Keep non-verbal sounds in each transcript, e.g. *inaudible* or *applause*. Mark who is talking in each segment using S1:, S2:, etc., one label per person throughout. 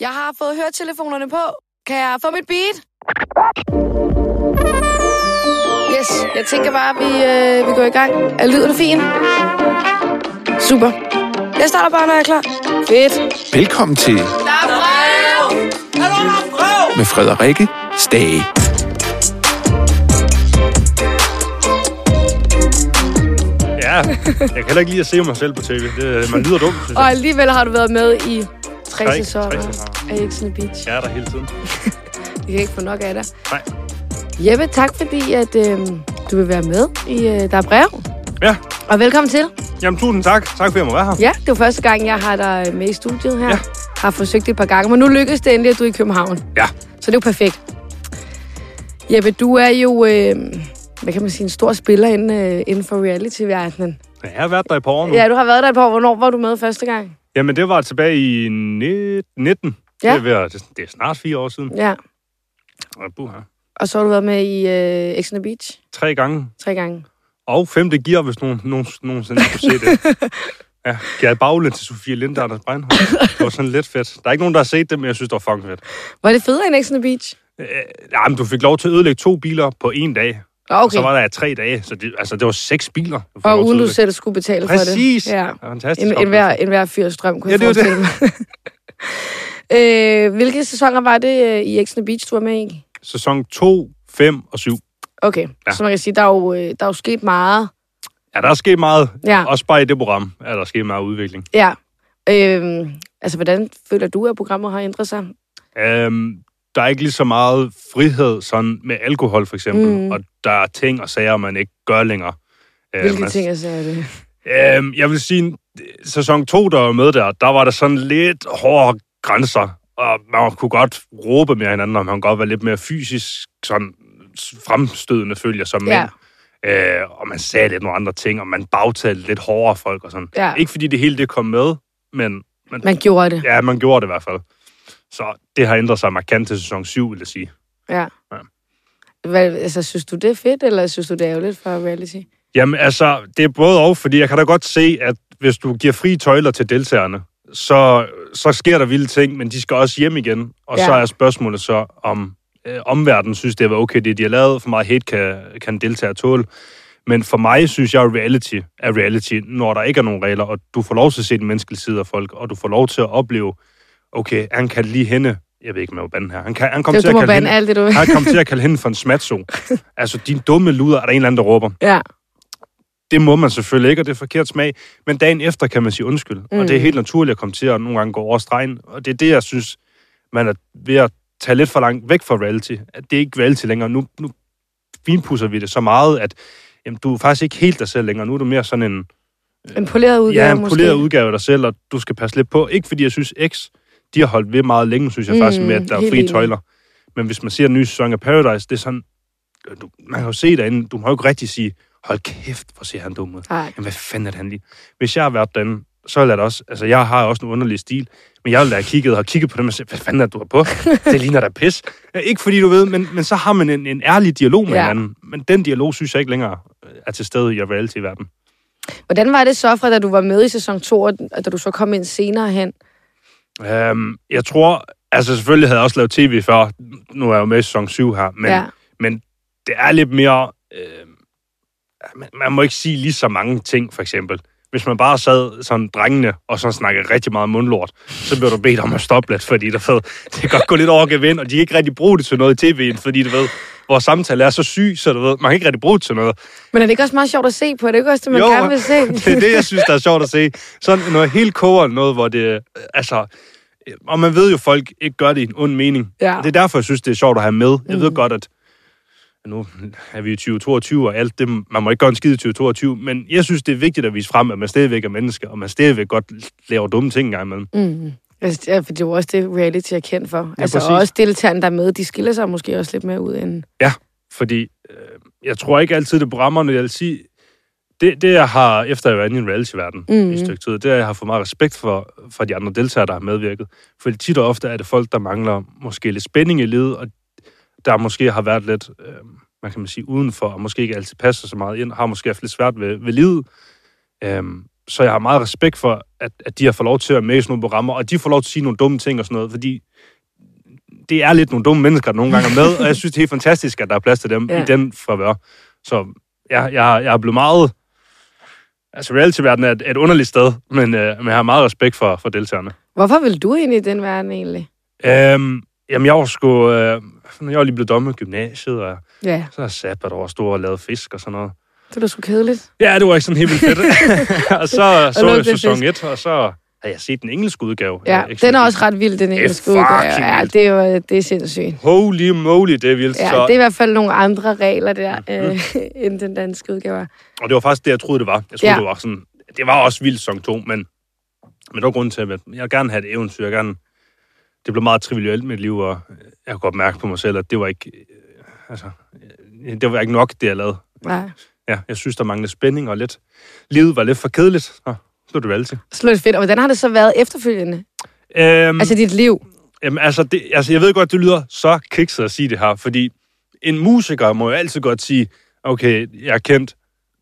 S1: Jeg har fået høretelefonerne på. Kan jeg få mit beat? Yes, jeg tænker bare, at vi, øh, vi går i gang. Er lyden fin? Super. Jeg starter bare, når jeg er klar. Fedt.
S2: Velkommen til
S1: Der er brev!
S2: med Frederikke Stage.
S3: Ja, jeg kan heller ikke lide at se mig selv på tv. Det, man lyder dum, synes
S1: Og
S3: jeg.
S1: alligevel har du været med i tre,
S3: Tre-
S1: sæsoner
S3: tre sæsoner.
S1: af Exxon Beach.
S3: Jeg er der hele tiden.
S1: Vi kan ikke få nok af dig.
S3: Nej.
S1: Jeppe, tak fordi at, øh, du vil være med i øh, Der er brev.
S3: Ja,
S1: Og velkommen til.
S3: jamen tusind tak. Tak for, at jeg må være her.
S1: Ja, det var første gang, jeg har dig øh, med i studiet her. Ja.
S3: Ja.
S1: Har forsøgt det et par gange, men nu lykkedes det endelig, at du er i København.
S3: Ja,
S1: Så det er jo perfekt. Jeppe, du er jo, øh, hvad kan man sige, en stor spiller inden, øh, inden for reality-verdenen.
S3: jeg har været der i par år nu.
S1: Ja, du har været der et par år. Hvornår var du med første gang?
S3: Jamen, det var tilbage i ni- 19.
S1: Ja.
S3: Det, er ved, at- det er snart fire år siden.
S1: Ja.
S3: Og buha.
S1: Og så har du været med i øh, Ex on the Beach
S3: Tre gange.
S1: tre gange.
S3: Og femte gear, hvis nogen, nogen, nogensinde kunne se
S1: *laughs*
S3: det. Ja, Gerd Bagle til Sofie Linde og Anders Breinholt. Det var sådan lidt fedt. Der er ikke nogen, der har set det, men jeg synes, det var fucking fedt.
S1: Var det federe end Ex on the Beach?
S3: Øh, jamen, du fik lov til at ødelægge to biler på en dag.
S1: Nå,
S3: Og
S1: Okay.
S3: så var der tre dage, så det, altså, det var seks biler. du fik lov til
S1: Og
S3: at
S1: uden du
S3: ødelægge.
S1: selv skulle betale for det.
S3: Præcis.
S1: Ja.
S3: Fantastisk.
S1: En, en, hver, en hver fyrs drøm, kunne
S3: Ja,
S1: jeg
S3: det er jo
S1: forestille mig. øh, hvilke sæsoner var det øh, i Exxon Beach, du var med i?
S3: Sæson 2, 5 og 7.
S1: Okay, ja.
S3: Ja.
S1: så man kan sige, der er jo, øh, der er jo sket meget.
S3: Ja, der er sket meget.
S1: Ja.
S3: Også bare i det program er der sket meget udvikling.
S1: Ja. Øh, altså, hvordan føler du, at programmet har ændret sig?
S3: Øhm, der er ikke lige så meget frihed sådan med alkohol, for eksempel.
S1: Mm.
S3: Mm. Og der er ting og sager, man ikke gør længere. Øhm,
S1: Hvilke
S3: altså-
S1: ting altså, er det?
S3: Øhm, jeg vil sige, sæson 2, der var med der, der var der sådan lidt hårde grænser. Og man kunne godt råbe mere hinanden, og man kunne godt være lidt mere fysisk sådan fremstødende, følger som mænd.
S1: Ja.
S3: Øh, og man sagde lidt nogle andre ting, og man bagtalte lidt hårdere folk og sådan.
S1: Ja.
S3: Ikke fordi det hele det kom med, men
S1: Man gjorde det.
S3: ja, man gjorde det i hvert fald. Så det har ændret sig markant til sæson 7, vil jeg sige.
S1: Ja.
S3: Ja.
S1: Hvad, altså, synes du, det er fedt, eller synes du, det er ærgerligt for reality?
S3: Jamen altså, det er både og, fordi jeg kan da godt se, at hvis du giver frie tøjler til deltagerne, så, så sker der vilde ting, men de skal også hjem igen. Og
S1: Ja.
S3: ja. så er spørgsmålet så, om øh, omverdenen synes, det var okay, det de har lavet. For meget hate kan, kan deltager tåle. Men for mig synes jeg, at reality er reality, når der ikke er nogen regler, og du får lov til at se den menneskelige side af folk, og du får lov til at opleve, okay, han kan lige hende. Jeg ved ikke, om jeg må bande her. Han, kan, han kom
S1: Det,
S3: til
S1: du
S3: at
S1: må
S3: kalde
S1: bande
S3: hende,
S1: alt det, du vil.
S3: han kom til at kalde hende for en
S1: *laughs*
S3: smatso. Altså, din dumme luder, er der en eller anden, der råber
S1: Ja,
S3: det må man selvfølgelig ikke, og det er forkert smag. Men dagen efter kan man sige undskyld. Mm. Og det er helt naturligt at komme til at nogle gange gå over stregen. Og det er det, jeg synes, man er ved at tage lidt for langt væk fra reality. At det er ikke reality længere. Nu, nu finpudser vi det så meget, at jamen, du er faktisk ikke helt dig selv længere. Nu er du mere sådan en,
S1: en poleret udgave
S3: ja, en
S1: måske.
S3: poleret udgave af dig selv, og du skal passe lidt på. Ikke fordi jeg synes, X de har holdt ved meget længe, synes jeg
S1: Mm,
S3: mm, faktisk, med at der er
S1: helt
S3: frie
S1: enig.
S3: tøjler. Men hvis man ser den nye sæson af Paradise, det er sådan, du, man kan jo se derinde, du må jo ikke rigtig sige, hold kæft, hvor ser han dum ud.
S1: Nej.
S3: Jamen, hvad fanden er det, han lige? Hvis jeg har været derinde, så er det også... Altså, jeg har også en underlig stil, men jeg ville da have kigget og kigget på dem og sagt, hvad fanden er det, du har på? Det ligner da pis. Ja, Ikke fordi du ved, men, men så har man en, en ærlig dialog med
S1: Ja.
S3: ja. hinanden. Men den dialog, synes jeg ikke længere øh, er til stede i reality-verden.
S1: Hvordan var det så fra, da du var med i sæson 2, og og da du så kom ind senere hen?
S3: Øhm, jeg tror... Altså, selvfølgelig havde jeg også lavet tv før. Nu er jeg jo med i sæson 7 her. Men,
S1: Ja.
S3: ja. men det er lidt mere... Øh, man, man må ikke sige lige så mange ting, for eksempel. Hvis man bare sad sådan drengene, og så snakkede rigtig meget mundlort, så blev du bedt om at stoppe lidt, fordi du ved, *laughs* det kan godt gå lidt over gevind, og de kan ikke rigtig bruge det til noget i tv'en, fordi du ved, vores samtale er så syg, så du ved, man kan ikke rigtig bruge det til noget.
S1: Men er det ikke også meget sjovt at se på? Er det ikke også det, man
S3: Jo,
S1: gerne vil se?
S3: *laughs* det er det, jeg synes, der er sjovt at se. Sådan noget helt koger, noget, hvor det... øh, Altså, øh, og man ved jo, folk ikke gør det i en ond mening.
S1: Ja. Mm.
S3: Og Det er derfor, jeg synes, det er sjovt at have med. Jeg ved godt, at nu er vi i 2022, og alt det, man må ikke gøre en skid i 2022, men jeg synes, det er vigtigt at vise frem, at man stadigvæk er menneske, og man stadigvæk godt laver dumme ting engang imellem.
S1: Mm. Altså, ja, for det er jo også det, reality er kendt for. Ja, altså, og
S3: præcis.
S1: også deltagerne, der er med, de skiller sig måske også lidt mere ud end...
S3: Ja, fordi øh, jeg tror ikke altid, det brammer, når jeg vil sige, det, det jeg har, efter jeg var inde i en reality-verden mm.
S1: Mhm.
S3: i et stykke tid, det er, at jeg har fået meget respekt for, for de andre deltagere, der har medvirket. Fordi tit og ofte er det folk, der mangler måske lidt spænding i livet, og der måske har været lidt, øh, man kan man sige, udenfor, og måske ikke altid passer så meget ind, har måske haft lidt svært ved, ved livet. Øh, så jeg har meget respekt for, at, at de har fået lov til at med sådan nogle programmer, og de får lov til at sige nogle dumme ting og sådan noget, fordi det er lidt nogle dumme mennesker, der nogle gange er med, og jeg synes, det er helt fantastisk, at der er plads til dem
S1: Ja.
S3: ja. i den favør. Så jeg, jeg, har- jeg er blevet meget... Altså, reality-verdenen er et, et underligt sted, men, øh, men jeg har meget respekt for, for deltagerne.
S1: Hvorfor vil du ind i den verden egentlig?
S3: Øhm, jamen, jeg var sgu... Øh, jeg var lige blevet dommer i gymnasiet, og
S1: Ja,
S3: så har jeg sat, at der var stor og lavet fisk og sådan noget.
S1: det er da sgu kedeligt.
S3: Ja, det var ikke sådan helt
S1: *laughs*
S3: vildt fedt. *laughs* og så så
S1: lugtede
S3: jeg sæson
S1: fisk.
S3: 1, og så havde jeg set den engelske udgave.
S1: Ja,
S3: af X
S1: den er
S3: Factor.
S1: også ret vild, den engelske
S3: fucking
S1: udgave. Ja,
S3: vildt.
S1: det er jo øh, det er sindssygt.
S3: Holy moly, det er vildt.
S1: Ja,
S3: så, Mm-hmm.
S1: det er i hvert fald nogle andre regler der, øh, *laughs* end den danske udgave. er.
S3: Og det var faktisk det, jeg troede, det var. Jeg
S1: Ja.
S3: troede, ja. det var sådan... Det var også vildt sæson 2, men, men der var grunden til, at jeg vil gerne have et eventyr. Jeg vil gerne, det blev meget trivielt mit liv, og jeg kunne godt mærke på mig selv, at det var ikke... øh, Altså, øh, det var ikke nok, det jeg lavede.
S1: Ja.
S3: Ja, jeg synes, der manglede spænding, og lidt... Livet var lidt for kedeligt, så blev det valgt til.
S1: Så det fedt. Og hvordan har det så været efterfølgende? Mm.
S3: Øhm,
S1: Altså dit liv?
S3: Jamen, altså, det, altså, jeg ved godt, det lyder så kikset at sige det her, fordi en musiker må jo altid godt sige, okay, jeg er kendt,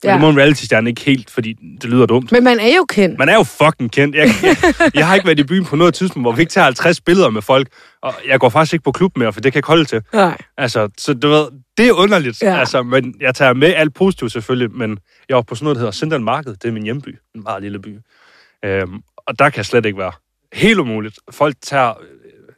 S3: men
S1: Ja.
S3: ja. det må en reality-stjerne ikke helt, fordi det lyder dumt.
S1: Men man er jo kendt.
S3: Man er jo fucking kendt. Jeg, jeg, jeg har ikke været i byen på noget tidspunkt, hvor vi ikke tager 50 billeder med folk, og jeg går faktisk ikke på klub mere, for det kan jeg ikke holde til.
S1: Nej.
S3: Altså, så du ved, det er underligt.
S1: Ja.
S3: Ja. Altså, men jeg tager med alt positivt selvfølgelig, men jeg var på sådan noget, der hedder Sindal Marked. Det er min hjemby. En meget lille by. Øhm, og der kan jeg slet ikke være. Helt umuligt. Folk tager... øh,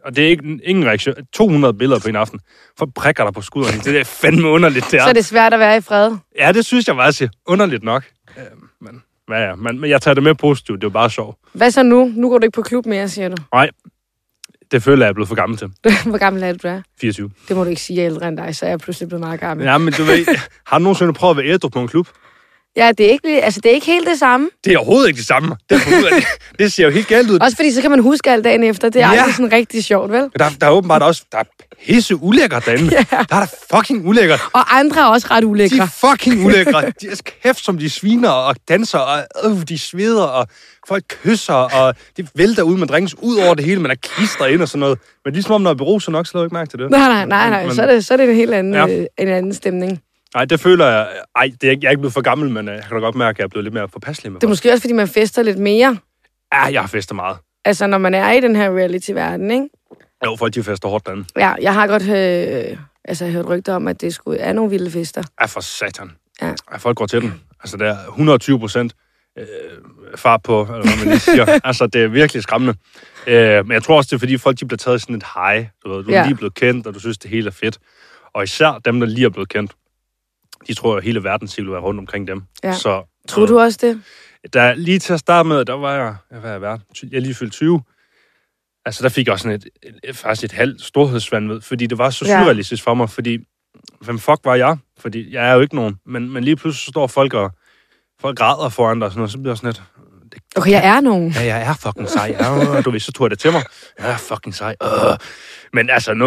S3: Og det er ikke, ingen reaktion. 200 billeder på en aften. Folk prikker dig på skulderen. Det er fandme underligt, det er.
S1: Så er det svært at være i fred.
S3: Ja, det synes jeg var altså underligt nok. Øhm, men, ja, ja, men, men jeg tager det med positivt. Det er jo bare sjovt.
S1: Hvad så nu? Nu går du ikke på klub mere, siger du. *laughs*
S3: Nej, det føler jeg, jeg er blevet for gammel til.
S1: Hvor gammel er du, du er?
S3: 24.
S1: Det må du ikke sige, jeg er ældre end dig, så er jeg pludselig blevet meget gammel. Ja,
S3: Ja, men du ved, *laughs* har du nogensinde prøvet at være ædru på en klub?
S1: ja det, er ikke, lige- altså, det er ikke helt det samme.
S3: det er overhovedet ikke det samme. Derfor ud af
S1: *laughs*
S3: det. det ser jo helt galt ud.
S1: Også fordi, så kan man huske alt dagen efter. Det er
S3: Ja.
S1: aldrig sådan rigtig sjovt, vel?
S3: Men Der, der er åbenbart også, der er pisse ulækkert derinde. Yeah. Der er da fucking ulækkert.
S1: Og andre er også ret
S3: De
S1: ulækre.
S3: er
S1: *laughs*
S3: fucking ulækre. De er kæft, som de sviner og danser, og øh, de sveder, og folk kysser, og de vælter ud med drinks ud over det hele, men der klister ind og sådan noget. Men ligesom om, når jeg beruser nok, så lader jeg ikke mærke til det.
S1: Nej, nej, nej, nej.
S3: Men-
S1: Så er det, så er det en helt anden, ja.
S3: Ja.
S1: øh, en anden stemning.
S3: Nej, det føler jeg... Ej, det er ikke, jeg er ikke blevet for gammel, men øh, jeg kan da godt mærke, at jeg er blevet lidt mere forpasselig med
S1: Det er
S3: folk.
S1: måske også, fordi man fester lidt mere.
S3: Ja, jeg har festet meget.
S1: Altså, når man er i den her reality-verden, ikke?
S3: Jo, folk de fester hårdt derinde.
S1: Ja, jeg har godt øh, altså, hørt rygter om, at det skulle er nogle vilde fester.
S3: Ja, for satan.
S1: Ja.
S3: Ja. ja folk går til den. Altså, det er 120 procent øh, far på, eller hvad man lige
S1: *laughs*
S3: siger. altså, det er virkelig skræmmende. Øh, men jeg tror også, det er, fordi folk de bliver taget i sådan et hej. Du, ved, du
S1: Ja.
S3: er lige blevet kendt, og du synes, det hele er fedt. Og især dem, der lige er blevet kendt, de tror jo, at hele verden vil være rundt omkring dem.
S1: Ja.
S3: Så,
S1: Tror du også det?
S3: Der, lige til at starte med, der var jeg, jeg, var jeg, været, jeg er lige fyldt 20. Altså, der fik jeg også sådan et, et, faktisk et halvt storhedsvandvid, fordi det var så
S1: Ja.
S3: surrealistisk for mig, fordi hvem fuck var jeg? Fordi jeg er jo ikke nogen. Men, men lige pludselig så står folk og folk græder foran dig, og sådan noget, så bliver jeg sådan lidt,
S1: Okay, jeg er nogen.
S3: ja, jeg er fucking sej. Ja, øh, du ved, så tog jeg det til mig. Jeg er fucking sej. Øh. Men altså, nu,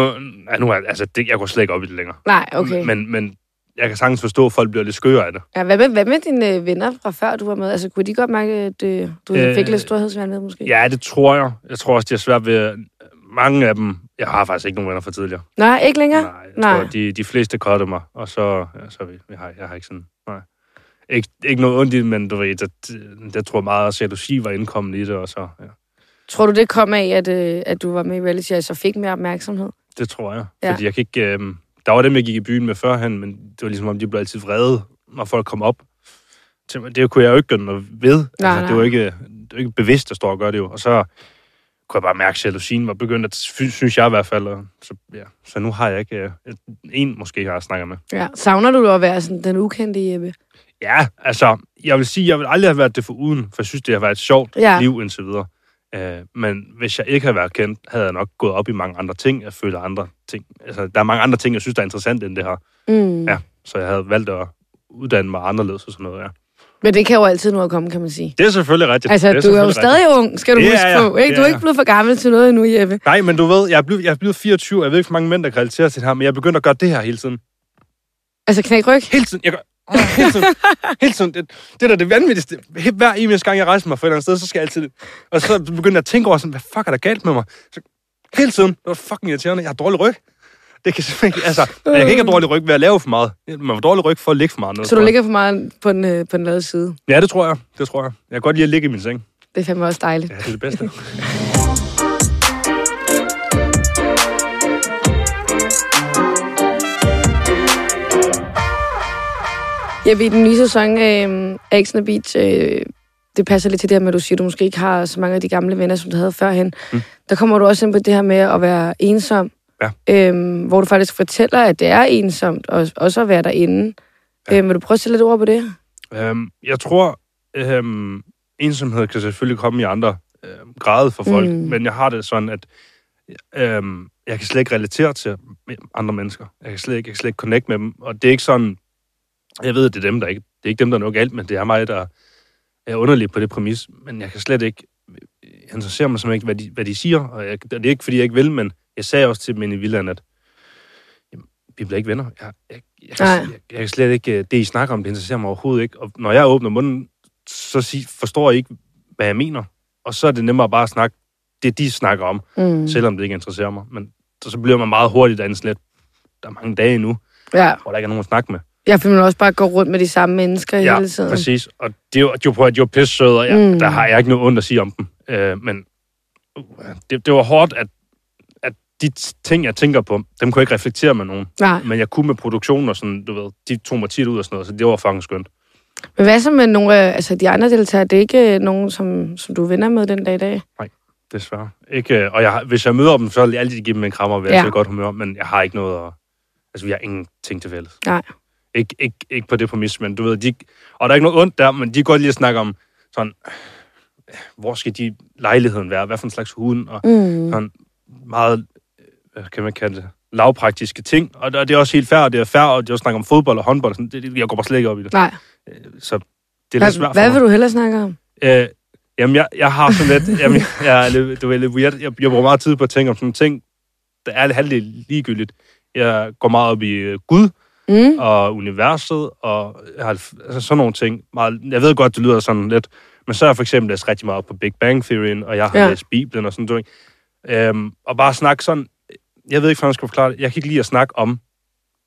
S3: ja, nu er, altså det, jeg går slet ikke op i det længere.
S1: Nej, okay.
S3: Men, men jeg kan sagtens forstå, at folk bliver lidt skøre af det.
S1: Ja, hvad, med, hvad med dine øh, venner fra før, du var med? Altså, kunne de godt mærke, at øh, du øh,
S3: Øh,
S1: fik lidt storhedsvandvid, måske?
S3: Ja, det tror jeg. Jeg tror også, de har svært ved... Mange af dem... Jeg har faktisk ikke nogen venner fra tidligere.
S1: Nej, ikke længere?
S3: Nej, jeg
S1: Nej.
S3: Nej. tror, de, de fleste kottede mig, og så... Ja, så er vi, jeg, har, jeg har ikke sådan... Nej. Ikke, ikke noget ondt i det, men du ved, der, der tror jeg meget, at jalousi var indkommende i det, og så... Ja.
S1: Tror du, det kom af, at, øh, at du var med i reality, og så fik mere opmærksomhed?
S3: Det tror jeg.
S1: Ja.
S3: Ja. Fordi jeg kan ikke... Øh, der var dem, jeg gik i byen med førhen, men det var ligesom, om de blev altid vrede, når folk kom op. til mig. Det kunne jeg jo ikke gøre noget ved.
S1: Nej,
S3: altså,
S1: nej.
S3: Det, var ikke, det var ikke bevidst, der står og gør det jo. Og så kunne jeg bare mærke, at jalousien var begyndt at, sy- synes jeg i hvert fald. Og så, ja. så nu har jeg ikke øh, en, måske har jeg snakket med.
S1: Ja. Savner du at være sådan den ukendte Jeppe?
S3: Ja, altså, jeg vil sige, jeg vil aldrig have været det for uden, for jeg synes, det har været et sjovt
S1: Ja.
S3: ja. liv indtil videre. Øh, men hvis jeg ikke havde været kendt, havde jeg nok gået op i mange andre ting. Jeg føler andre ting. Altså, der er mange andre ting, jeg synes, der er interessant end det her.
S1: Mm.
S3: Ja, så jeg havde valgt at uddanne mig anderledes og sådan noget, ja.
S1: Men det kan jo altid nu at komme, kan man sige.
S3: Det er selvfølgelig rigtigt.
S1: Altså,
S3: det er
S1: du er jo
S3: selvfølgelig rigtigt.
S1: stadig ung, skal du
S3: Det er
S1: huske
S3: jeg.
S1: på. Ikke?
S3: Det
S1: Du er
S3: er
S1: ikke
S3: jeg.
S1: blevet for gammel til noget endnu, Jeppe.
S3: Nej, men du ved, jeg er blevet, jeg er blevet 24, og jeg ved ikke, hvor mange mænd, der kan relatere til det her, men jeg er begyndt at gøre det her hele tiden.
S1: Altså, knæk ryg.
S3: Hele tiden, jeg gør... Åh, Hele tiden, hele tiden. Det, det er da det vanvittigste. He- Hver eneste gang, jeg rejser mig fra et eller andet sted, så skal jeg altid... Og så begynder jeg at tænke over sådan, hvad fuck er der galt med mig? Så, hele tiden. Det var fucking irriterende. Jeg har dårlig ryg. Det kan simpelthen ikke, altså, og jeg kan ikke have dårlig ryg ved at lave for meget. Man får dårlig ryg for at ligge for meget. ned,
S1: Så du
S3: tror jeg.
S1: ligger for meget på den, øh, på den lade side.
S3: Ja, det tror jeg. Det tror jeg. Jeg kan godt lide at ligge i min seng.
S1: Det er fandme også dejligt.
S3: Ja, det er det bedste.
S1: Jeg ved, i den nye sæson af øh, Action on the Beach, øh, det passer lidt til det her med, at du siger, at du måske ikke har så mange af de gamle venner, som du havde førhen. Mm. Der kommer du også ind på det her med at være ensom.
S3: Ja.
S1: Øhm, hvor du faktisk fortæller, at det er ensomt, og også at være derinde. Ja. Øhm, vil du prøve at sætte lidt ord på det?
S3: Øhm, jeg tror, øhm, ensomhed kan selvfølgelig komme i andre øhm, grader for folk,
S1: Mm.
S3: mm. men jeg har det sådan, at øhm, jeg kan slet ikke relatere til andre mennesker. Jeg kan slet ikke, jeg kan slet ikke connecte med dem, og det er ikke sådan, jeg ved, at det er dem, der ikke, det er ikke dem, der er noget galt, men det er mig, der er underlig på det præmis, men jeg kan slet ikke, jeg interesserer mig simpelthen ikke, hvad de, hvad de siger, og, jeg, og det er ikke, fordi jeg ikke vil, men jeg sagde også til mine i Villand, at jamen, vi bliver ikke venner. Jeg, jeg, jeg, kan,
S1: Nej.
S3: jeg, jeg kan slet ikke, øh, det I snakker om, det interesserer mig overhovedet ikke, og når jeg åbner munden, så sig, forstår jeg ikke, hvad jeg mener, og så er det nemmere bare at snakke det, de snakker om,
S1: Mm.
S3: selvom det ikke interesserer mig, men så, så bliver man meget hurtigt derinde sådan lidt, der er mange dage endnu,
S1: Ja,
S3: hvor der ikke er nogen at snakke med.
S1: jeg finder også bare at gå rundt med de samme mennesker ja, hele tiden.
S3: præcis. Og det er jo, de er jo, prøv at de er jo pisse søde, og jeg,
S1: Mm.
S3: mm. der har jeg ikke noget ondt at sige om dem. Øh, men uh, det, det var hårdt, at, at de t- ting, jeg tænker på, dem kunne jeg ikke reflektere med nogen.
S1: Nej.
S3: Men jeg kunne med produktion og sådan, du ved, de tog mig tit ud og sådan noget, så det var fucking skønt.
S1: Men hvad så med nogle af altså de andre deltagere? Det er ikke øh, nogen, som, som du er venner med den dag i dag?
S3: Desværre. Ikke, øh, og jeg, har- hvis jeg møder dem, så vil jeg altid give dem en krammer, og være
S1: Ja.
S3: ja. i godt humør, men jeg har ikke noget at... Altså, vi har ingenting til fælles.
S1: Nej.
S3: Ikke, ikke, ikke på det præmis, men du ved, de, og der er ikke noget ondt der, men de kan godt lige at snakke om sådan, øh, hvor skal de lejligheden være, hvad for en slags hund, og
S1: Mm.
S3: sådan meget, øh, hvad kan man kalde det, lavpraktiske ting, og der- det er også helt fair, og det er fair, og det er også snak om fodbold og håndbold, og sådan, det, det- jeg går bare slet ikke op i det.
S1: Nej.
S3: Så det er lidt
S1: Hvad,
S3: svært
S1: hvad
S3: for
S1: vil du hellere snakke om?
S3: mig. Øh, jamen, jeg, jeg har sådan lidt, jamen, jeg, jeg er lidt, du er lidt weird. Jeg, jeg bruger meget tid på at tænke om sådan nogle ting, der er lidt halvdelen ligegyldigt. Jeg går meget op i øh, Gud,
S1: Mm.
S3: og universet, og jeg har, altså sådan nogle ting. Meget, jeg ved godt, det lyder sådan lidt, men så har jeg for eksempel læst rigtig meget op på Big Bang Theory, og jeg har
S1: Ja.
S3: ja. læst Bibelen og sådan noget. Øhm, og bare snakke sådan, jeg ved ikke, hvordan jeg skal forklare det, jeg kan ikke lide at snakke om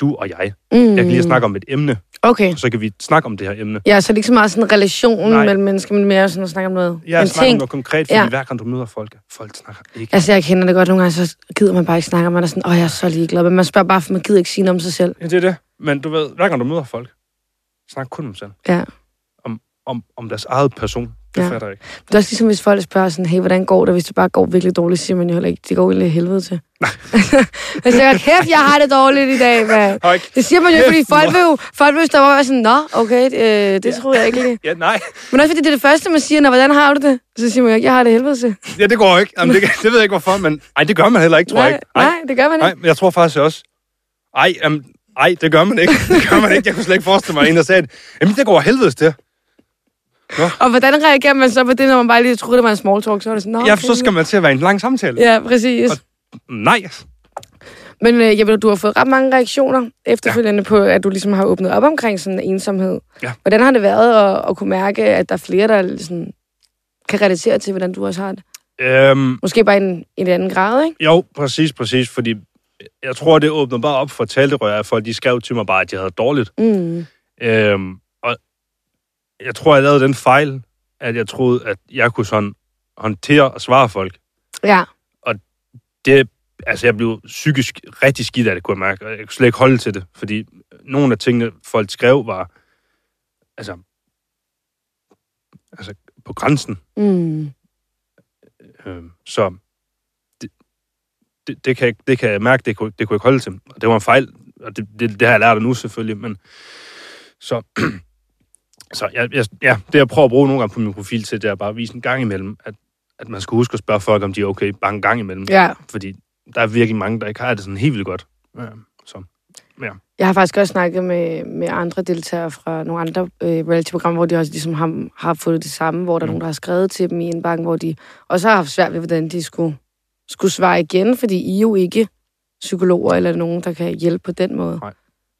S3: du og jeg.
S1: Mm.
S3: Jeg kan lide at snakke om et emne,
S1: Okay.
S3: og så kan vi snakke om det her emne.
S1: Ja, så det er ikke så meget sådan relationen
S3: Nej.
S1: mellem mennesker, men mere sådan at snakke om noget.
S3: Jeg
S1: en
S3: snakker om
S1: ting.
S3: noget konkret, fordi
S1: Ja.
S3: ja. hver gang du møder folk, folk snakker ikke.
S1: Altså, jeg kender det godt nogle gange, så gider man bare ikke snakke om, man er sådan, åh, jeg er så ligeglad, men man spørger bare, for man gider ikke sige noget om sig selv.
S3: Ja, det er det. Men du ved, hver gang du møder folk, snak kun om sig selv.
S1: Ja.
S3: Om, om, om deres eget person. Det
S1: Ja.
S3: ja. fatter jeg ikke.
S1: Det er også ligesom, hvis folk spørger sådan, hey, hvordan går det? Hvis det bare går virkelig dårligt, siger man jo heller ikke, det går egentlig af helvede til. *laughs* Nej. jeg kæft, jeg har det dårligt i dag, mand.
S3: Høj,
S1: Det siger man jo ikke, fordi
S3: Kæft, mor.
S1: folk vil jo, folk vil jo stoppe op og være sådan, nå, okay, øh, det troede jeg ikke lige.
S3: ja, nej.
S1: Men også fordi det er det første, man siger, når hvordan har du det? Så siger man jo ikke, jeg har det af helvede til.
S3: Ja, det går ikke. Jamen, det, det ved jeg ikke, hvorfor, men... Ej, det gør man heller ikke, tror jeg
S1: Nej,
S3: ikke. Ej,
S1: nej, det gør man
S3: nej,
S1: ikke.
S3: men jeg tror faktisk også... Ej, jamen, ej, det gør man ikke. *laughs* Det gør man ikke. Jeg kunne slet ikke forestille mig, at en der sagde, jamen, det går af helvedes til.
S1: Og hvordan reagerer man så på det, når man bare lige troede, det var en small talk? Så var det sådan, nå,
S3: Ja,
S1: okay.
S3: så skal man til at være i en lang samtale.
S1: Ja, præcis.
S3: Og- Nej.
S1: Men øh, jeg ved, du har fået ret mange reaktioner efterfølgende ja. på, at du ligesom har åbnet op omkring sådan ensomhed.
S3: Ja.
S1: Hvordan har det været at, at kunne mærke, at der er flere, der sådan, kan relatere til, hvordan du også har det?
S3: Øhm,
S1: Måske bare i en, i en anden grad, ikke?
S3: jo, præcis, præcis, fordi jeg tror, det åbnede bare op for talerør, at folk de skrev til mig bare, at jeg havde det dårligt.
S1: Mm.
S3: Øhm, og jeg tror, jeg lavede den fejl, at jeg troede, at jeg kunne sådan håndtere og svare folk.
S1: Ja.
S3: det, altså jeg blev psykisk rigtig skidt af det, kunne jeg mærke, og jeg kunne slet ikke holde til det, fordi nogle af tingene, folk skrev, var altså, altså på grænsen.
S1: Mm.
S3: Øh, så det, det, det, kan jeg, ikke- det kan jeg mærke, det kunne, det kunne jeg ikke holde til. Og det var en fejl, og det, det, det har jeg lært af nu selvfølgelig, men så, *clears throat* så jeg, jeg, ja, det jeg prøver at bruge nogle gange på min profil til, det er bare at vise en gang imellem, at, at man skal huske at spørge folk, om de er okay bare en gang imellem
S1: ja.
S3: fordi der er virkelig mange, der ikke har det sådan helt vildt godt. Ja, så.
S1: Jeg har faktisk også snakket med, med andre deltagere fra nogle andre øh, reality-programmer, hvor de også ligesom har, har fået det samme, hvor der er
S3: Mm.
S1: nogen, der har skrevet til dem i en bank, hvor de også har haft svært ved, hvordan de skulle, skulle svare igen, fordi I er jo ikke psykologer eller nogen, der kan hjælpe på den måde.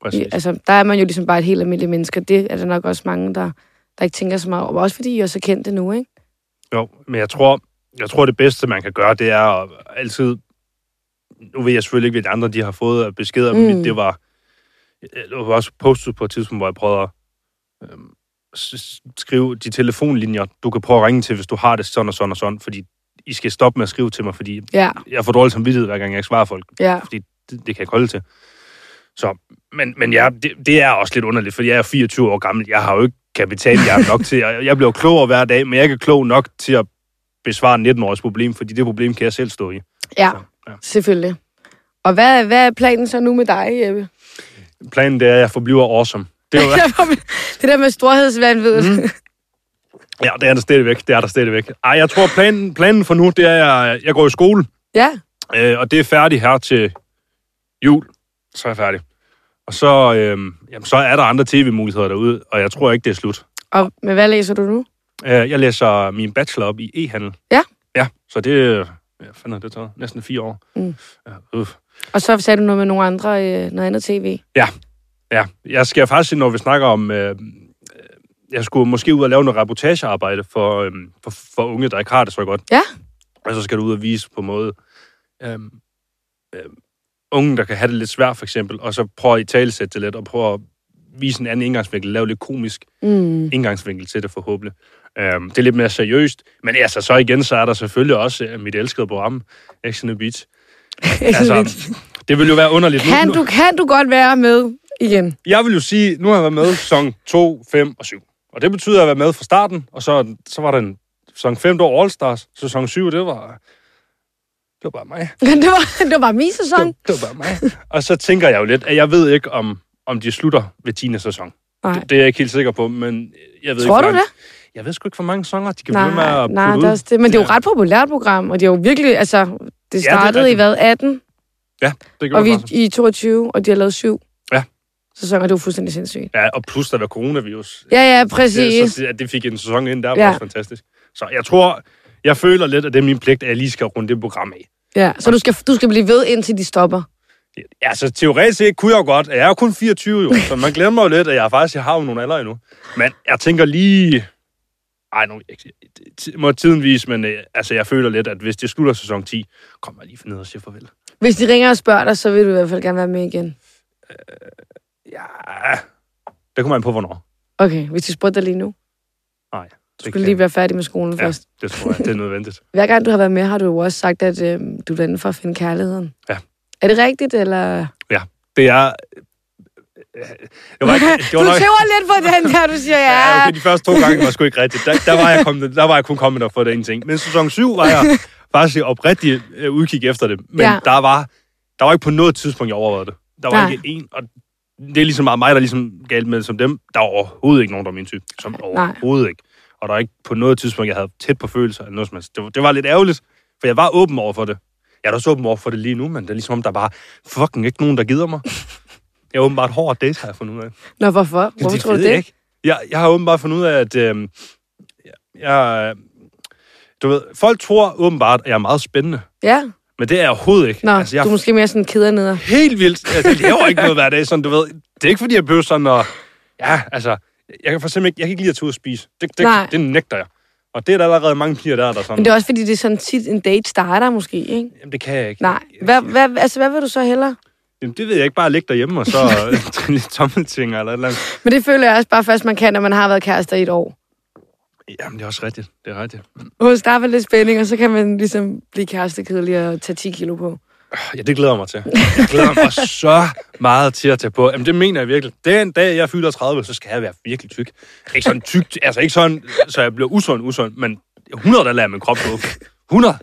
S3: Præcis.
S1: I, altså, der er man jo ligesom bare et helt almindeligt menneske, og det er der nok også mange, der, der ikke tænker så meget over. Også fordi I også er kendte nu, ikke?
S3: Jo, men jeg tror, jeg tror, det bedste, man kan gøre, det er at altid nu ved jeg selvfølgelig ikke, hvad de andre de har fået af beskeder, mm.
S1: Mm.
S3: men det var, øh, det var også postet på et tidspunkt, hvor jeg prøvede at øh, skrive de telefonlinjer, du kan prøve at ringe til, hvis du har det sådan og sådan og sådan, fordi I skal stoppe med at skrive til mig, fordi
S1: Ja,
S3: jeg får dårlig samvittighed, hver gang jeg ikke svarer folk.
S1: ja.
S3: Det, det kan jeg ikke holde til. Så, men, men ja, det, det er også lidt underligt, fordi jeg er 24 år gammel. Jeg har jo ikke kapital, jeg har nok til. Jeg, jeg bliver jo klogere hver dag, men jeg er ikke klog nok til at besvare 19-åriges problem, fordi det problem kan jeg selv stå i.
S1: Ja,
S3: Så, ja.
S1: selvfølgelig. Og hvad, hvad er planen så nu med dig, Jeppe?
S3: Planen det er, at jeg forbliver awesome. Det
S1: *laughs*
S3: er jo,
S1: det der med storhedsvandvid. Mm.
S3: ja, det er der stadigvæk. Det er der stadigvæk. Ej, jeg tror, planen, planen for nu, det er, at jeg- jeg går i skole,
S1: ja,
S3: øh, og det er færdigt her til jul. Så er jeg færdig. Og så, øh, jamen, så er der andre tv-muligheder derude, og jeg tror ikke, det er slut.
S1: og men hvad læser du nu?
S3: Øh, Jeg læser min bachelor op i e-handel.
S1: Ja.
S3: Ja, så det... øh, Hvad fanden har det taget? Næsten fire år.
S1: Mm.
S3: Ja, øh.
S1: Og så sagde du noget med nogle andre, øh, noget andet tv.
S3: ja, jeg skal faktisk sige, når vi snakker om... Øh, øh, jeg skulle måske ud og lave noget reportagearbejde for, øh, for, for unge, der ikke har det så godt.
S1: Ja.
S3: Og så skal du ud og vise på en måde... Øh, øh, unge, der kan have det lidt svært, for eksempel, og så prøve at i talesætte det lidt, og prøve at vise en anden indgangsvinkel, lave lidt komisk.
S1: *laughs* Mm.
S3: indgangsvinkel til det forhåbentlig. Øhm, det er lidt mere seriøst, men altså så igen, så er der selvfølgelig også øh, mit elskede program, Action Beach. Altså, det vil jo være underligt. Nu-
S1: kan,
S3: nu,
S1: du, kan du godt være med igen?
S3: Jeg vil jo sige, nu har jeg været med sæson 2, 5 og 7. Og det betyder, at jeg har været med fra starten, og så, så var den sæson 5, der var All Stars. Sæson 7, det var, det var bare mig.
S1: *laughs* det, var, det var bare min
S3: Det var,
S1: sæson.
S3: det var bare mig. og så tænker jeg jo lidt, at jeg ved ikke, om, om de slutter ved 10. sæson.
S1: Nej.
S3: Det, det er jeg ikke helt sikker på, men jeg ved
S1: Tror du
S3: ikke, hvor
S1: det?
S3: mange- Jeg ved sgu ikke, hvor mange sæsoner de kan blive ved med
S1: Nej,
S3: at
S1: nej
S3: putte
S1: det
S3: ud.
S1: er også det. Men det er jo et ret populært program, og det er jo virkelig, altså, det
S3: er
S1: startede ja, det i hvad,
S3: rigtigt.
S1: 18,
S3: Det
S1: og
S3: gjorde
S1: vi
S3: vi...
S1: i 22, og de har lavet syv.
S3: Ja.
S1: Sæsoner, det er jo fuldstændig sindssygt.
S3: Ja, og plus der var coronavirus.
S1: Ja, ja,
S3: Det,
S1: præcis.
S3: så at det fik en sæson ind, der var ja.
S1: Ja.
S3: også fantastisk. Så jeg tror, jeg føler lidt, at det er min pligt, at jeg lige skal runde det program af.
S1: Ja, så du skal, du skal blive ved, indtil de stopper.
S3: Ja, så teoretisk set kunne jeg jo godt. Jeg er jo kun 24 jo, så man glemmer jo lidt, at jeg faktisk jeg har jo nogle alder endnu. Men jeg tænker lige... Ej, nu jeg- t- må tiden vise, men øh, altså, jeg føler lidt, at hvis det slutter sæson 10, kommer jeg lige for ned og siger farvel.
S1: Hvis de ringer og spørger dig, så vil du i hvert fald gerne være med igen.
S3: Ja, det kommer man på, hvornår.
S1: Okay, hvis de spurgte dig lige nu.
S3: Nej, det,
S1: Du skal lige være færdig med skolen ja.
S3: ja,
S1: først.
S3: det tror jeg, det er nødvendigt.
S1: Hver gang du har været med, har du jo også sagt, at øh, du er derinde for at finde kærligheden.
S3: Ja.
S1: Er det rigtigt, eller?
S3: Det er... øh, øh, Det var
S1: *laughs*
S3: ikke, det var
S1: du
S3: nok,
S1: tæver lidt på den der, du siger, ja.
S3: *laughs* ja, okay, de første to gange var sgu ikke rigtigt. Der, der, var, jeg kommet, der var jeg kun kommet og fået det ene ting. Men sæson 7 var *laughs* jeg faktisk oprigtig øh, udkig efter det. Men ja.
S1: Ja.
S3: der, var, der var ikke på noget tidspunkt, jeg overvejede det. Der var
S1: Nej.
S3: ikke en, og det er ligesom meget mig, der er ligesom galt med det som dem. Der var overhovedet ikke nogen, der var min type. Som overhovedet ikke. Og der var ikke på noget tidspunkt, jeg havde tæt på følelser eller noget som helst. Det, var- det var lidt ærgerligt, for jeg var åben over for det. Jeg er da også åben over for det lige nu, men det er ligesom om, der bare fucking ikke nogen, der gider *laughs* mig. Jeg er åbenbart hård at date, har jeg fundet ud af.
S1: Nå, hvorfor? Hvorfor
S3: Det
S1: tror du
S3: ved jeg
S1: det?
S3: Ikke? Jeg, jeg har åbenbart fundet ud af, at øh, jeg, du ved, folk tror åbenbart, at jeg er meget spændende.
S1: Ja.
S3: Men det er jeg overhovedet ikke.
S1: Nå,
S3: altså, jeg
S1: du er måske mere sådan kederneder.
S3: helt vildt. Altså, jeg laver ikke noget
S1: *laughs*
S3: hver dag, sådan, du ved. Det er ikke, fordi jeg bøver sådan og... Ja, altså, jeg kan for eksempel ikke, jeg kan ikke lide at tage ud og spise. Det, det,
S1: Nej.
S3: det nægter jeg. Og det er der allerede mange piger, der er der sådan.
S1: Men det er også, fordi det er sådan tit en date starter måske, ikke?
S3: Jamen, det kan jeg ikke.
S1: Nej. Hvad, hvad, altså, hvad vil du så hellere?
S3: Jamen, det ved jeg ikke. Bare ligge derhjemme og
S1: *laughs*
S3: så øh, trille lidt tommeltinger eller et eller andet.
S1: Men det føler jeg også bare først, man kan, når man har været kærester i et år.
S3: Jamen, det er også rigtigt. Det er rigtigt.
S1: Hos der er vel lidt spænding, og så kan man ligesom blive kærestekedelig og tage 10 kilo på.
S3: Ja, det glæder jeg mig til. Jeg glæder mig så meget til at tage på. Jamen, det mener jeg virkelig. Den dag, jeg fylder 30, så skal jeg være virkelig tyk. Ikke sådan tyk, altså ikke sådan, så jeg bliver usund, usund, men 100, der lader min krop gå. 100?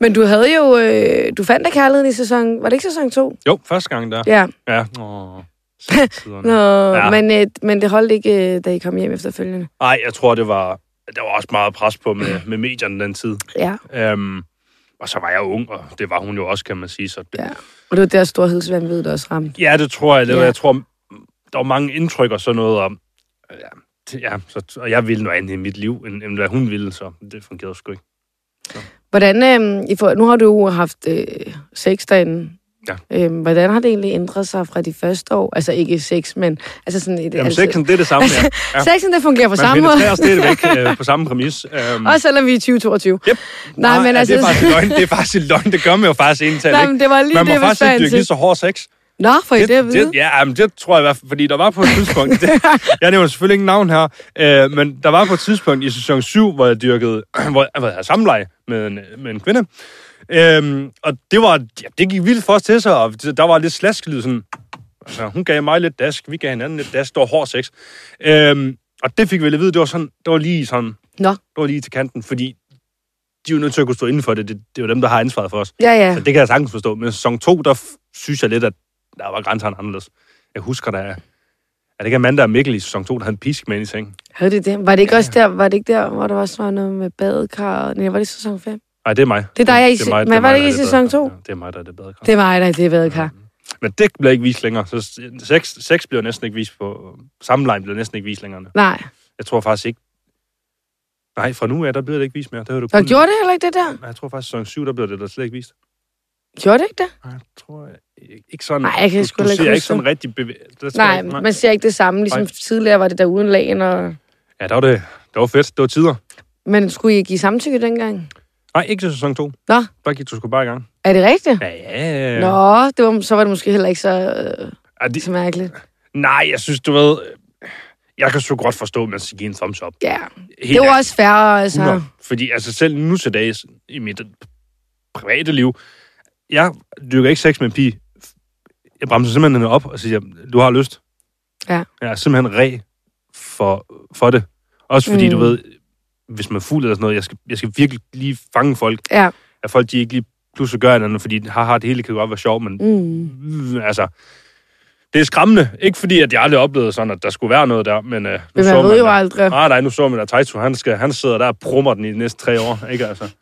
S1: Men du havde jo... Øh, du fandt da kærligheden i sæson... Var det ikke sæson 2?
S3: Jo, første gang der.
S1: Ja.
S3: Ja. Åh,
S1: Nå,
S3: tiderne. Ja.
S1: ja. Men, øh, men det holdt ikke, øh, da I kom hjem efterfølgende.
S3: Ej, jeg tror, det var... Der var også meget pres på med, med medierne den tid.
S1: Ja.
S3: Øhm, og så var jeg ung, og det var hun jo også, kan man sige. Så det,
S1: ja. Og det var der storhedsvandvid, der også ramte.
S3: Ja, det tror jeg. Ja.
S1: Ja.
S3: Jeg tror, der var mange indtryk og sådan noget. Og, ja, det- ja, så, og jeg ville noget andet i mit liv, end, end hvad hun ville, så det fungerede sgu ikke.
S1: øhm, Hvordan, øh, I får, nu har du jo haft øh, sex derinde
S3: Ja.
S1: Øhm, hvordan har det egentlig ændret sig fra de første år? Altså ikke sex, men altså sådan et... *laughs*
S3: Jamen,
S1: altså,
S3: sexen, det er det samme, ja. ja.
S1: Sexen, det fungerer på
S3: Man
S1: samme måde.
S3: penetrerer stadigvæk øh, på samme præmis.
S1: *laughs*
S3: Øhm,
S1: Også selvom vi er i 2022.
S3: Yep.
S1: Nej, men
S3: ja,
S1: altså...
S3: Det er faktisk løgn. Det er faktisk en løgn. Det gør man jo faktisk
S1: *laughs*
S3: indtalt,
S1: Nej,
S3: ikke?
S1: men det var lige
S3: Man må
S1: det, jeg
S3: faktisk
S1: ville
S3: ikke dyrke
S1: spørge ind til.
S3: lige så hård sex.
S1: Nå, for I det at vide?
S3: det, ja, men det tror jeg i hvert fald, fordi der var på et tidspunkt... *laughs* det, jeg nævner selvfølgelig ingen navn her, øh, men der var på et tidspunkt i sæson 7, hvor jeg dyrkede... *clears throat* Hvor jeg, hvor jeg havde samleje med en, øh, med en kvinde. Øhm, og det var... Ja, det gik vildt for os til sig, og der var lidt slaskelyd, sådan... Altså, hun gav mig lidt dask, vi gav hinanden lidt dask, det var hård sex. Øhm, og det fik vi at vide, det var, sådan, det var lige sådan...
S1: Nå.
S3: Det var lige til kanten, fordi de er jo nødt til at kunne stå inden for det. Det, det er jo dem, der har ansvaret for os.
S1: Ja, ja.
S3: Så det kan jeg sagtens forstå. Men sæson 2, der f- synes jeg lidt, at der var grænserne anderledes. Jeg husker, der er... Er det ikke Amanda og Mikkel i sæson 2, der havde en pisk med i sengen?
S1: Havde det det? Var det ikke også der, var det ikke der, hvor der også var noget med badekar? Nej, var det sæson 5?
S3: Nej, det er mig.
S1: Det er dig, jeg er i
S3: Det
S1: se-
S3: mig-
S1: men
S3: er
S1: var
S3: mig,
S1: det
S3: der
S1: ikke
S3: er
S1: i sæson
S3: badekar.
S1: to?
S3: Ja, det er mig, der er det badekar.
S1: Det var dig, der det badekar.
S3: Men det bliver ikke vist længere. Så s- sex, sex bliver næsten ikke vist på... Samlejen bliver næsten ikke vist længere. nu.
S1: Nej.
S3: Jeg tror faktisk ikke... Nej, fra nu af, der bliver det ikke vist mere. Der er det
S1: Nå, gjorde det heller ikke det der?
S3: Nej, jeg tror faktisk, sæson 7, der bliver det der slet ikke vist.
S1: Gjorde det ikke det?
S3: Nej, jeg tror jeg... Ikke sådan...
S1: Nej, jeg kan
S3: du,
S1: sgu
S3: du
S1: heller ikke
S3: ser
S1: huske
S3: ikke sådan
S1: det.
S3: rigtig bevæg... Det tror jeg
S1: Nej,
S3: ikke,
S1: man ser ikke det samme. Ligesom
S3: Nej.
S1: tidligere var det der uden lagen. Og...
S3: Ja, der var det... Det var fedt. Det var tider.
S1: Men skulle I give samtykke dengang?
S3: Nej, ikke til sæson 2.
S1: Nå.
S3: Der gik du sgu bare i gang.
S1: Er det rigtigt?
S3: Ja, ja, ja.
S1: Nå, det var, så var det måske heller ikke så, øh,
S3: Er det,
S1: så mærkeligt.
S3: nej, jeg synes, du ved... øh, Jeg kan så godt forstå, at man skal give en thumbs up.
S1: Ja,
S3: Helt
S1: det var
S3: ærligt.
S1: også færre, altså.
S3: 100. Fordi altså, selv nu til dags i mit private liv, jeg dyrker ikke sex med en pige. Jeg bremser simpelthen hende op og siger, du har lyst.
S1: Ja.
S3: Jeg er simpelthen re for, for det. Også fordi,
S1: Mm.
S3: mm. du ved, hvis man er fuld eller sådan noget, jeg skal, jeg skal virkelig lige fange folk.
S1: Ja.
S3: At folk, de ikke lige pludselig gør hinanden, fordi haha, det hele kan godt være sjovt, men
S1: Mm.
S3: Mm, altså, det er skræmmende. Ikke fordi, at jeg aldrig oplevede sådan, at der skulle være noget der, men øh, nu
S1: Men
S3: så
S1: man ved
S3: man,
S1: jo aldrig.
S3: Nej, nej, nu så man, at Taito, han, skal, han sidder der og brummer den i de næste tre år, ikke altså?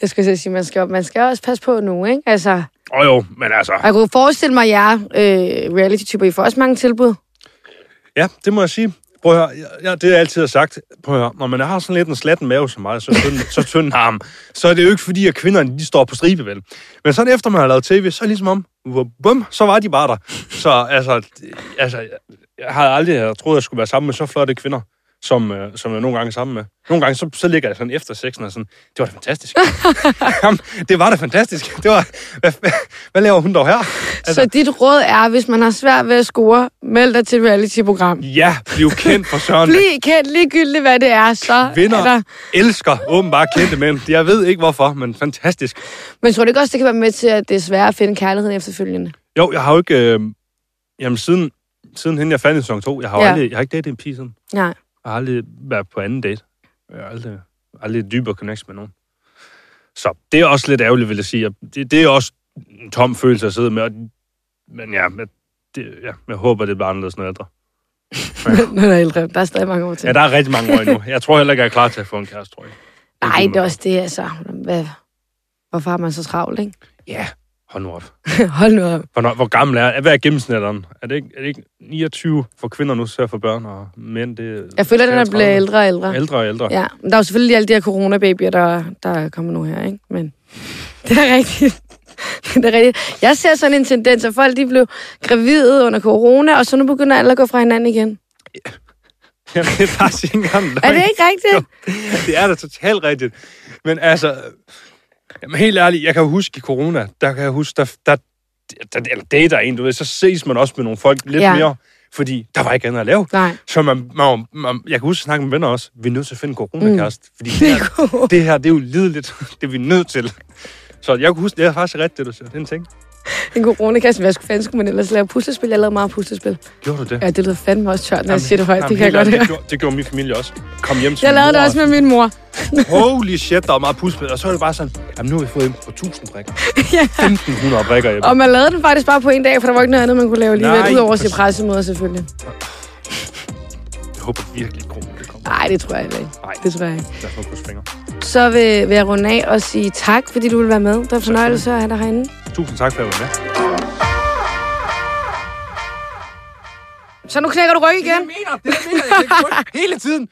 S1: Jeg skulle til at sige, man skal, man skal også passe på nu, ikke? Altså,
S3: Åh jo, men altså,
S1: jeg kunne forestille mig, at jer øh, reality-typer, I får også mange tilbud.
S3: ja, det må jeg sige. Prøv at høre, ja, det er altid har sagt, prøv at høre, når man har sådan lidt en slatten mave som mig, så tynd, så tynd en arm, så er det jo ikke fordi, at kvinderne de står på stribe, vel? Men sådan efter man har lavet tv, så er det ligesom om, hvor- bum, så var de bare der. Så altså, det- altså jeg- jeg havde aldrig troet, at jeg skulle være sammen med så flotte kvinder, som, øh, som jeg nogle gange er sammen med. Nogle gange, så, så ligger jeg sådan efter sexen og sådan, det var da fantastisk. Jamen, det var da fantastisk. Det var, hvad, hvad, hvad laver hun dog her?
S1: Altså. Så dit råd er, hvis man har svært ved at score, meld dig til et reality-program.
S3: Ja, bliv kendt for søren. da.
S1: Bliv kendt ligegyldigt, hvad det er, så
S3: Kvinder
S1: er der...
S3: elsker åbenbart kendte mænd. Jeg ved ikke hvorfor, men fantastisk.
S1: Men tror du ikke også, det kan være med til, at det er sværere at finde kærligheden efterfølgende?
S3: Jo, jeg har jo ikke... Øh, jamen, siden, siden hende, jeg fandt i sæson 2, jeg har, ja.
S1: Ja.
S3: aldrig, jeg har ikke datet en pige siden.
S1: *laughs* Nej.
S3: Jeg har aldrig været på anden date. Jeg har aldrig, aldrig dybere connection med nogen. Så det er også lidt ærgerligt, vil jeg sige. Og Det, det er også en tom følelse at sidde med. Og, men ja, jeg, det, ja, jeg håber, det bliver anderledes, når jeg er ældre.
S1: Når der er ældre. Der er stadig mange år til.
S3: Ja, der er rigtig mange år endnu. Jeg tror heller ikke, jeg er klar til at få en kæreste, tror jeg.
S1: Nej, det er også det, altså. Hvad? Hvorfor har man så travlt, ikke?
S3: Ja, hold nu op.
S1: *laughs* Hold nu op.
S3: Hvornår, hvor gammel er Hvad er gennemsnitteren? Er det, ikke, er det ikke 29 for kvinder nu, så for børn og mænd? Det er
S1: Jeg føler, at den er blevet
S3: 33.
S1: ældre og ældre.
S3: Ældre og ældre. Ja.
S1: Ja, men der er jo selvfølgelig alle de her coronababyer, der, der er kommet nu her, ikke? Men *laughs* det er rigtigt. *laughs* det er rigtigt. Jeg ser sådan en tendens, at folk de blev gravide under corona, og så nu begynder alle at gå fra hinanden igen.
S3: Jamen, *laughs* det er faktisk ikke engang løgn.
S1: Er det ikke rigtigt?
S3: det er da totalt rigtigt. Men altså, jamen, helt ærligt, jeg kan jo huske i corona, der kan jeg huske, der, der, der eller dater en, du ved, så ses man også med nogle folk lidt
S1: Ja.
S3: ja. mere, fordi der var ikke andet at lave.
S1: Nej.
S3: Så man, man, man, jeg kan huske at snakke med venner også, vi er nødt til at finde en coronakæreste,
S1: *laughs*
S3: mm. fordi det,
S1: Det
S3: her,
S1: er godt.
S3: det her, det er jo lideligt, *laughs* det er vi nødt til. Så jeg kunne huske, det er faktisk rigtigt, det du siger. Det er en ting.
S1: En coronakasse, hvad skulle fanden skulle man ellers lave? Puslespil? Jeg lavede meget puslespil.
S3: Gjorde du det?
S1: Ja, det lyder fandme også tørt, når jeg siger det højt. Det kan jeg godt
S3: det,
S1: høre.
S3: gjorde, det gjorde min familie også. Kom hjem til
S1: Jeg
S3: min
S1: lavede
S3: mor
S1: det
S3: og
S1: også med min mor.
S3: holy shit, der var meget puslespil. Og så er det bare sådan, jamen nu har vi fået hjem på 1000
S1: *laughs*
S3: brikker. 1500 brikker hjemme.
S1: Og man lavede den faktisk bare på en dag, for der var ikke noget andet, man kunne lave alligevel.
S3: Nej,
S1: Udover at se
S3: præcis.
S1: pressemøder selvfølgelig.
S3: Jeg håber virkelig, at corona det kommer.
S1: Nej, det tror jeg heller ikke.
S3: Nej,
S1: Det tror jeg ikke.
S3: lad os nu krydse fingre.
S1: Så vil, vil jeg runde af og sige tak, fordi du vil være med. Det var en fornøjelse at have dig herinde.
S3: Tusind tak for at være med.
S1: Så nu knækker du ryg igen. *laughs*
S3: mener, det er det, jeg hele tiden.